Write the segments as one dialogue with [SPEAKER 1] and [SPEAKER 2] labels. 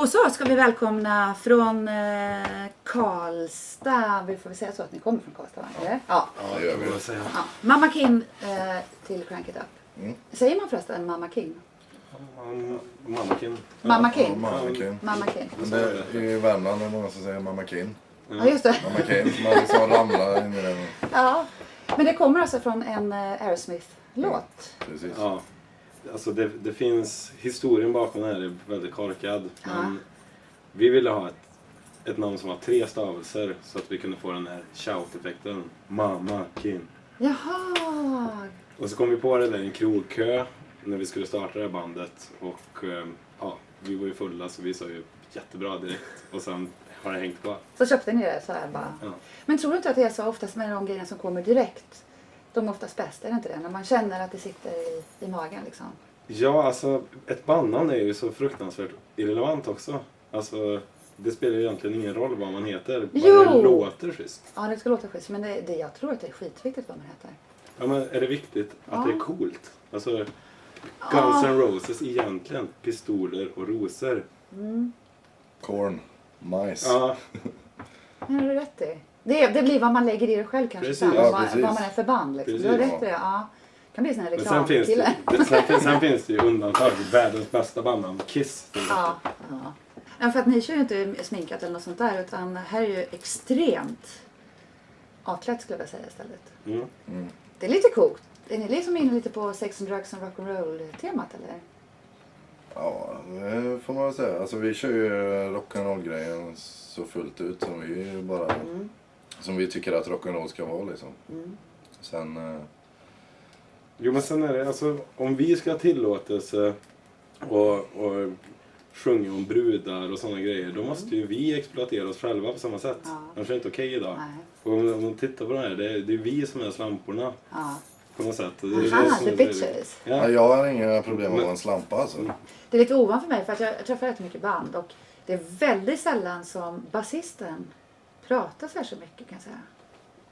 [SPEAKER 1] Och så ska vi välkomna från eh, Karlstad, vi får väl säga så att ni kommer från Karlstad va? Eller? Ja.
[SPEAKER 2] Ja, det gör vi.
[SPEAKER 3] säga.
[SPEAKER 1] ja. Mamma Kim eh, till Crank It Up.
[SPEAKER 2] Mm.
[SPEAKER 1] Säger man förresten Mamma Kim?
[SPEAKER 3] Mannequin.
[SPEAKER 1] Mamma
[SPEAKER 2] Ja,
[SPEAKER 1] Kim?
[SPEAKER 2] Mamma Kim.
[SPEAKER 1] Mamma Kim.
[SPEAKER 2] Men det, I Värmland är det många som säger Mamma Kim.
[SPEAKER 1] Ja just det.
[SPEAKER 2] Mamma Kim, som aldrig sa ramla in i den.
[SPEAKER 1] Ja. Men det kommer alltså från en eh, Aerosmith-låt.
[SPEAKER 2] Precis.
[SPEAKER 3] Ja. Alltså det, det finns, historien bakom det här är väldigt korkad. Men
[SPEAKER 1] Ja.
[SPEAKER 3] vi ville ha ett, ett namn som har tre stavelser så att vi kunde få den här shout-effekten. Mamma Kin.
[SPEAKER 1] Jaha.
[SPEAKER 3] Och så kom vi på det där i en krogkö när vi skulle starta det här bandet. Och eh, ja, vi var ju fulla så vi sa ju jättebra direkt. Och sen har det hängt på.
[SPEAKER 1] Så köpte ni det så här bara.
[SPEAKER 3] Ja.
[SPEAKER 1] Men tror du inte att det är så oftast med de grejerna som kommer direkt? De är oftast bäst, är det inte det? När man känner att det sitter i, i magen liksom.
[SPEAKER 3] Ja, alltså ett bandnamn är ju så fruktansvärt irrelevant också. Alltså, det spelar ju egentligen ingen roll vad man heter, bara
[SPEAKER 1] Jo!
[SPEAKER 3] det låter schysst.
[SPEAKER 1] Ja, det ska låta schysst, men det, det, jag tror att det är skitviktigt vad man heter.
[SPEAKER 3] Ja, men är det viktigt att det
[SPEAKER 1] Ja. Ah.
[SPEAKER 3] är coolt? Alltså,
[SPEAKER 1] Ja.
[SPEAKER 3] Guns N' Roses egentligen, pistoler och rosor.
[SPEAKER 2] Corn. Majs.
[SPEAKER 3] Ja,
[SPEAKER 1] Men har du rätt i? Det, det blir vad man lägger i det själv kanske
[SPEAKER 3] Precis.
[SPEAKER 1] sen,
[SPEAKER 3] Ja,
[SPEAKER 1] vad, vad
[SPEAKER 2] precis.
[SPEAKER 1] man är för band liksom. Du har
[SPEAKER 3] Precis.
[SPEAKER 1] rätt i det, ja. Det kan bli en sån här
[SPEAKER 3] men sen finns,
[SPEAKER 1] reklamkille.
[SPEAKER 3] det, det- sen, fin- sen finns det ju undantag. Världens bästa bandnamn, Kiss. till exempel.
[SPEAKER 1] Ja, ja. ja, för att ni kör ju inte sminkat eller något sånt där, utan här är ju extremt avklätt skulle jag vilja säga istället.
[SPEAKER 3] Mm.
[SPEAKER 1] Det är lite coolt. Är ni liksom inne lite på sex and drugs and rock'n'roll temat eller?
[SPEAKER 2] Ja, det får man väl säga. Alltså vi kör ju rock'n'roll-grejen så fullt ut som vi bara...
[SPEAKER 3] Mm.
[SPEAKER 2] Som vi tycker att rock'n'roll ska vara liksom. Sen... eh,
[SPEAKER 3] Jo men sen är det alltså om vi ska ha tillåtelse och, och sjunga om brudar och sådana grejer då måste ju vi exploatera oss själva på samma sätt.
[SPEAKER 1] Ja.
[SPEAKER 3] Annars är det inte okej idag.
[SPEAKER 1] Nej.
[SPEAKER 3] Och om, om man tittar på det här, det är, det är vi som är slamporna
[SPEAKER 1] Ja.
[SPEAKER 3] på något sätt. Det är det
[SPEAKER 1] Aha,
[SPEAKER 3] som
[SPEAKER 1] the
[SPEAKER 3] är-
[SPEAKER 1] bitches.
[SPEAKER 2] Ja,
[SPEAKER 3] Ja.
[SPEAKER 2] jag har inga problem med att
[SPEAKER 3] Men-
[SPEAKER 2] vara en slampa alltså.
[SPEAKER 1] Det är lite ovanför mig för att jag träffar rätt mycket band och det är väldigt sällan som basisten pratar särskilt mycket kan jag säga.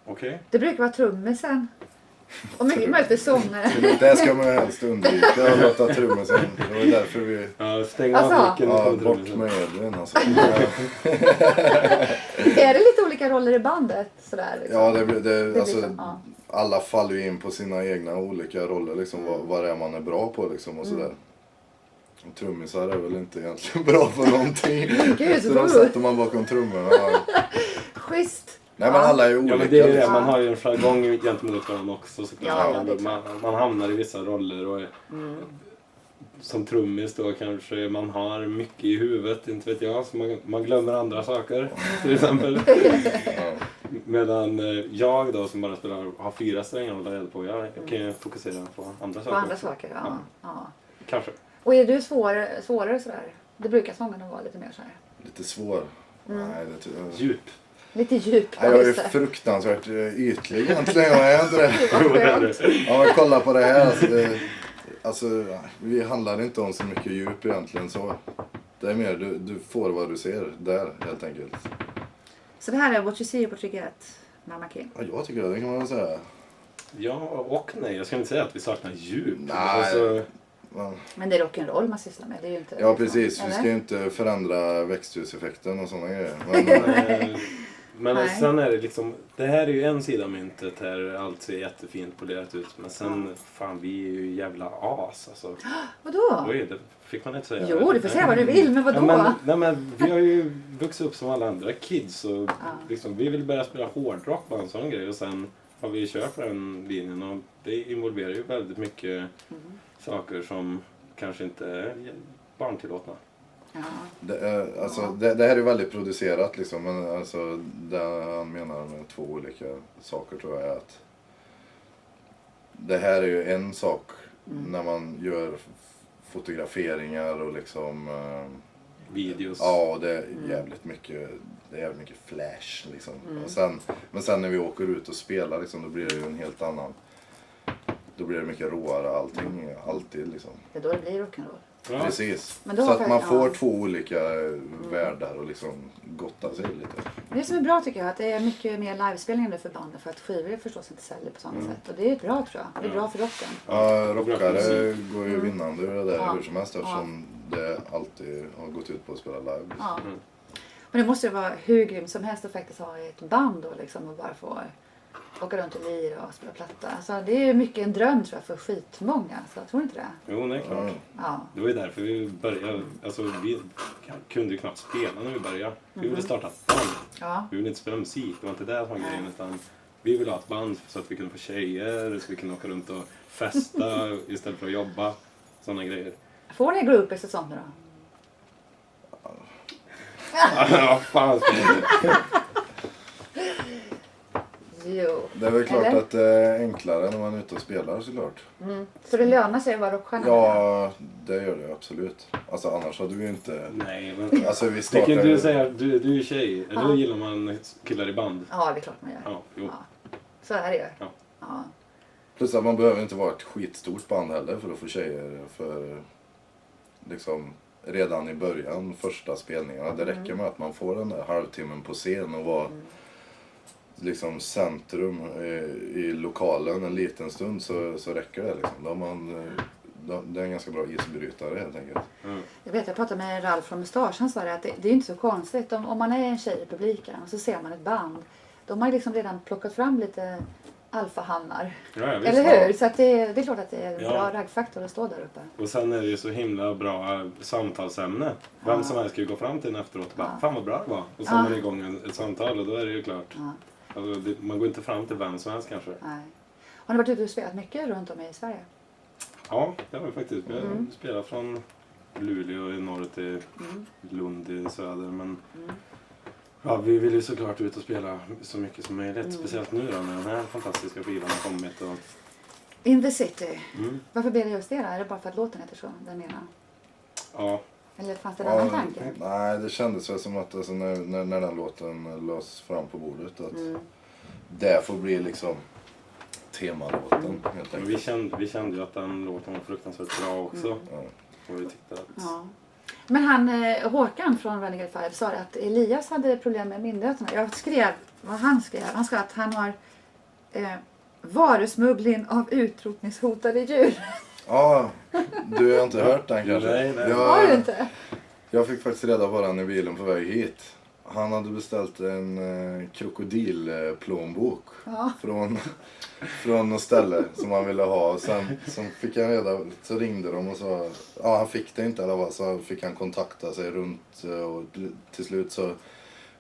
[SPEAKER 3] Okej.
[SPEAKER 1] Det brukar vara trummisen och mycket möjligtvis sångaren.
[SPEAKER 2] Det där ska man helst undvika att låta trummisen. Det var ju därför vi...
[SPEAKER 3] Ja, stäng
[SPEAKER 1] Alltså.
[SPEAKER 3] av micken och
[SPEAKER 2] Ja,
[SPEAKER 3] kom till
[SPEAKER 2] bort
[SPEAKER 3] rummet.
[SPEAKER 2] med Edvin alltså. Ja.
[SPEAKER 1] är det lite olika roller i bandet? Sådär, liksom?
[SPEAKER 2] Ja, det, blir- det,
[SPEAKER 1] blir
[SPEAKER 2] alltså,
[SPEAKER 1] som, ja.
[SPEAKER 2] alla faller ju in på sina egna olika roller liksom. Vad, vad det är man är bra på liksom och sådär. Och trummisar är väl inte egentligen bra på någonting.
[SPEAKER 1] Gud,
[SPEAKER 2] så då
[SPEAKER 1] vad-
[SPEAKER 2] sätter man bakom trummorna. Ja.
[SPEAKER 1] Schysst!
[SPEAKER 2] Nej men alla är ju olika.
[SPEAKER 3] Ja men det är ju det,
[SPEAKER 2] liksom.
[SPEAKER 3] man har ju en jargong gentemot varandra också såklart.
[SPEAKER 1] Ja, ja, det är Mm.
[SPEAKER 3] man, man hamnar i vissa roller och är, som trummis då kanske man har mycket i huvudet, inte vet jag, så man, man glömmer andra saker till exempel. Medan eh, jag då som bara spelar, har fyra strängar att hålla reda på, jag kan ju fokusera på andra
[SPEAKER 1] På
[SPEAKER 3] saker.
[SPEAKER 1] andra
[SPEAKER 3] också.
[SPEAKER 1] saker. Ja. Ja.
[SPEAKER 3] Kanske.
[SPEAKER 1] Och är du svår, svårare sådär? Det brukar sångarna vara lite mer sådär.
[SPEAKER 2] Lite svår. Nej, det tror jag.
[SPEAKER 3] Djup.
[SPEAKER 1] Lite djup.
[SPEAKER 2] Nej, jag är ju
[SPEAKER 1] just det.
[SPEAKER 2] fruktansvärt eh, ytlig egentligen. Jag är inte det.
[SPEAKER 1] Vad skönt.
[SPEAKER 2] Ja men kolla på det här. Alltså, det, alltså, vi handlar inte om så mycket djup egentligen så. Det är mer du, du får vad du ser där helt enkelt.
[SPEAKER 1] Så det här är What You See What You Get, Mamma Kim.
[SPEAKER 2] Ja, jag tycker det, det kan man väl säga.
[SPEAKER 3] Ja och nej, jag ska inte säga att vi saknar djup. Alltså,
[SPEAKER 2] Nej. Men,
[SPEAKER 1] Men det är rock'n'roll man sysslar med. Det är ju inte
[SPEAKER 2] ja precis, vi
[SPEAKER 1] eller?
[SPEAKER 2] ska ju inte förändra växthuseffekten och sådana grejer. Men,
[SPEAKER 3] Eh, Men
[SPEAKER 1] Nej.
[SPEAKER 3] sen är det liksom, det här är ju en sida av myntet här, allt ser jättefint polerat ut. Men sen, fan vi är ju jävla as alltså.
[SPEAKER 1] Vadå?
[SPEAKER 3] Oj, det fick man inte säga.
[SPEAKER 1] Jo, du får säga vad du vill, men vadå?
[SPEAKER 3] Ja, men, nej men vi har ju vuxit upp som alla andra kids och liksom, vi vill börja spela hårdrock bara en sån grej och sen har vi kört på den linjen och det involverar ju väldigt mycket
[SPEAKER 1] Mm.
[SPEAKER 3] saker som kanske inte är barntillåtna.
[SPEAKER 1] Ja.
[SPEAKER 2] det, är- alltså, det, det här är väldigt producerat liksom. Men alltså, det han menar med två olika saker tror jag är att det här är ju en sak
[SPEAKER 1] Mm.
[SPEAKER 2] när man gör f- fotograferingar och liksom eh,
[SPEAKER 3] Videos.
[SPEAKER 2] Ja, det är jävligt mycket, det är jävligt mycket flash liksom.
[SPEAKER 1] Mm.
[SPEAKER 2] Och sen, men sen när vi åker ut och spelar liksom, då blir det ju en helt annan... Då blir det mycket råare allting, alltid liksom.
[SPEAKER 1] Det är då det blir rock'n'roll.
[SPEAKER 3] Ja.
[SPEAKER 2] Precis.
[SPEAKER 1] Men då
[SPEAKER 2] Så att
[SPEAKER 1] har
[SPEAKER 2] man
[SPEAKER 1] jag-
[SPEAKER 2] får
[SPEAKER 1] ja. Mm.
[SPEAKER 2] två olika eh, världar och liksom gotta sig lite.
[SPEAKER 1] Men det som är bra tycker jag är att det är mycket mer livespelningar nu för banden för att skivor förstås inte säljer på samma
[SPEAKER 3] Mm.
[SPEAKER 1] sätt. Och det är bra tror jag. Det är bra för rocken.
[SPEAKER 2] Ja, rockare går ju vinnande ur det där
[SPEAKER 1] Mm. Ja.
[SPEAKER 2] hur som helst eftersom det alltid har gått ut på att spela live. liksom.
[SPEAKER 1] Ja.
[SPEAKER 3] Mm.
[SPEAKER 1] Men det måste ju vara hur grymt som helst att faktiskt ha ett band då liksom och bara få åka runt och lira och spela platta. Alltså det är ju mycket en dröm tror jag för skitmånga. Så jag tror inte det?
[SPEAKER 3] Jo, det är klart.
[SPEAKER 2] Ja.
[SPEAKER 1] Ja.
[SPEAKER 3] Det var ju därför vi började. Alltså, vi kunde ju knappt spela när vi började. Vi ville starta ett band.
[SPEAKER 1] Ja.
[SPEAKER 3] Vi ville inte spela musik. Det var inte det som var grejen. Utan vi ville ha ett band så att vi kunde få tjejer, så vi kunde åka runt och festa istället för att jobba. Sådana grejer.
[SPEAKER 1] Får ni groupies och sånt nu då?
[SPEAKER 3] Ja, fan. ska vi-
[SPEAKER 1] Jo.
[SPEAKER 2] Det är väl klart
[SPEAKER 1] Eller?
[SPEAKER 2] att det är enklare när man är ute och spelar såklart.
[SPEAKER 1] Så det lönar sig att vara rockstjärna?
[SPEAKER 2] Ja, det gör det absolut. Alltså annars hade vi ju inte...
[SPEAKER 3] Nej, men...
[SPEAKER 2] Alltså vi
[SPEAKER 3] Det kan
[SPEAKER 2] startade
[SPEAKER 3] du
[SPEAKER 2] ju...
[SPEAKER 3] säga. Du, du är tjej. Eller
[SPEAKER 1] Ja.
[SPEAKER 3] gillar man killar i band?
[SPEAKER 1] Ja, det är klart man gör.
[SPEAKER 3] Ja, jo.
[SPEAKER 1] Ja. Så är det ju.
[SPEAKER 3] Ja.
[SPEAKER 1] Ja.
[SPEAKER 2] Plus att man behöver inte vara ett skitstort band heller för att få tjejer för... Liksom redan i början, första spelningarna. Det räcker med att man får den där halvtimmen på scen och vara liksom centrum i, i lokalen en liten stund så, så räcker det liksom. Då har man... eh, då- Det är en ganska bra isbrytare helt enkelt.
[SPEAKER 3] Mm.
[SPEAKER 1] Jag vet, jag pratade med Ralf från Mustasch. Han sa det att det, det är inte så konstigt. Om, om man är en tjej i publiken och så ser man ett band. De har ju liksom redan plockat fram lite alfahannar.
[SPEAKER 3] Ja, ja, visst.
[SPEAKER 1] Eller hur? Så att det, det är klart att det är en
[SPEAKER 3] Ja.
[SPEAKER 1] bra raggfaktor att stå där uppe.
[SPEAKER 3] Och sen är det ju så himla bra samtalsämne. Vem som helst kan ju gå fram till en efteråt och bara Fan vad bra det var. Och sen
[SPEAKER 1] Ja.
[SPEAKER 3] är det igång en- ett samtal och då är det ju klart.
[SPEAKER 1] Ja,
[SPEAKER 3] Alltså, det, man går inte fram till vem som helst kanske.
[SPEAKER 1] nej. Har ni varit ute och spelat mycket runt om i Sverige?
[SPEAKER 3] Ja, det har vi faktiskt. Vi har
[SPEAKER 1] Mm.
[SPEAKER 3] spelat från Luleå i norr till Lund i söder. Men
[SPEAKER 1] Mm.
[SPEAKER 3] ja, vi vill ju såklart ut och spela så mycket som möjligt.
[SPEAKER 1] Mm.
[SPEAKER 3] Speciellt nu då när den här fantastiska skivan har kommit. Och,
[SPEAKER 1] In the city.
[SPEAKER 3] Mm.
[SPEAKER 1] Varför blev det just det då? Är det bara för att låten heter så? Den ena?
[SPEAKER 3] ja,
[SPEAKER 1] Eller fanns det en
[SPEAKER 2] Ja,
[SPEAKER 1] annan tanke?
[SPEAKER 2] nej, det kändes väl som att alltså, när, när, när den låten lades fram på bordet att
[SPEAKER 1] Mm.
[SPEAKER 2] det får bli liksom temalåten helt
[SPEAKER 3] men vi
[SPEAKER 2] enkelt.
[SPEAKER 3] kände, vi kände ju att den låten var fruktansvärt bra också.
[SPEAKER 2] Ja.
[SPEAKER 3] Och vi tyckte att...
[SPEAKER 1] Mm. Ja. Men han eh, Håkan från Renegade Five sa det att Elias hade problem med myndigheterna. Jag skrev vad han skrev. Han skrev att han har eh, varusmuggling av utrotningshotade djur.
[SPEAKER 2] Ja, du har inte hört den kanske?
[SPEAKER 3] Nej, nej.
[SPEAKER 1] Har du
[SPEAKER 2] Jag,
[SPEAKER 1] inte?
[SPEAKER 2] jag fick faktiskt reda på den i bilen på väg hit. Han hade beställt en eh, krokodilplånbok
[SPEAKER 1] Ja.
[SPEAKER 2] från, från något ställe som han ville ha. Och Sen, sen fick han reda, så ringde de och sa, ja han fick det inte i alla fall, så fick han kontakta sig runt eh, och till slut så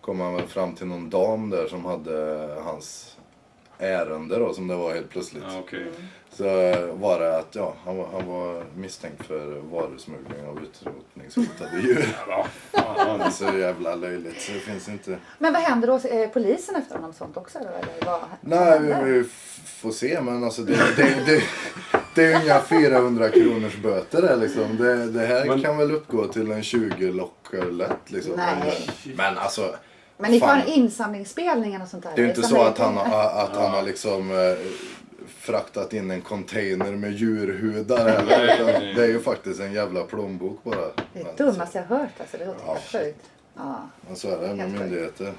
[SPEAKER 2] kom han väl fram till någon dam där som hade hans ärende då som det var helt plötsligt.
[SPEAKER 3] Ja, okej.
[SPEAKER 2] Så var det att ja, han, var- han var misstänkt för varusmuggling av utrotningshotade djur.
[SPEAKER 3] Ja, fan.
[SPEAKER 2] Det är så jävla löjligt så det finns inte.
[SPEAKER 1] Men vad händer då? Eh, polisen efter honom och sånt också? Då, eller vad
[SPEAKER 2] Nej,
[SPEAKER 1] händer?
[SPEAKER 2] vi, vi f- får se men alltså det, det, det, det är ju inga 400 kronors böter där liksom. Det, det här
[SPEAKER 3] Men-
[SPEAKER 2] kan väl uppgå till en 20 locker lätt liksom.
[SPEAKER 1] Nej.
[SPEAKER 2] Men alltså.
[SPEAKER 1] Men ni får ha
[SPEAKER 2] fan.
[SPEAKER 1] en insamlingsspelning eller sånt där?
[SPEAKER 2] Det är ju inte
[SPEAKER 1] Samla
[SPEAKER 2] så
[SPEAKER 1] in
[SPEAKER 2] att han, har-
[SPEAKER 1] pengar.
[SPEAKER 2] att han har liksom eh, fraktat in en container med djurhudar heller.
[SPEAKER 3] Nej,
[SPEAKER 2] utan
[SPEAKER 3] nej.
[SPEAKER 2] Det är ju faktiskt en jävla plånbok bara.
[SPEAKER 1] Det är
[SPEAKER 2] Men,
[SPEAKER 1] det dummaste jag hört alltså. Det låter
[SPEAKER 2] Ja.
[SPEAKER 1] helt sjukt. Ja.
[SPEAKER 2] Men så är det med
[SPEAKER 1] Helt sjukt.
[SPEAKER 2] myndigheter.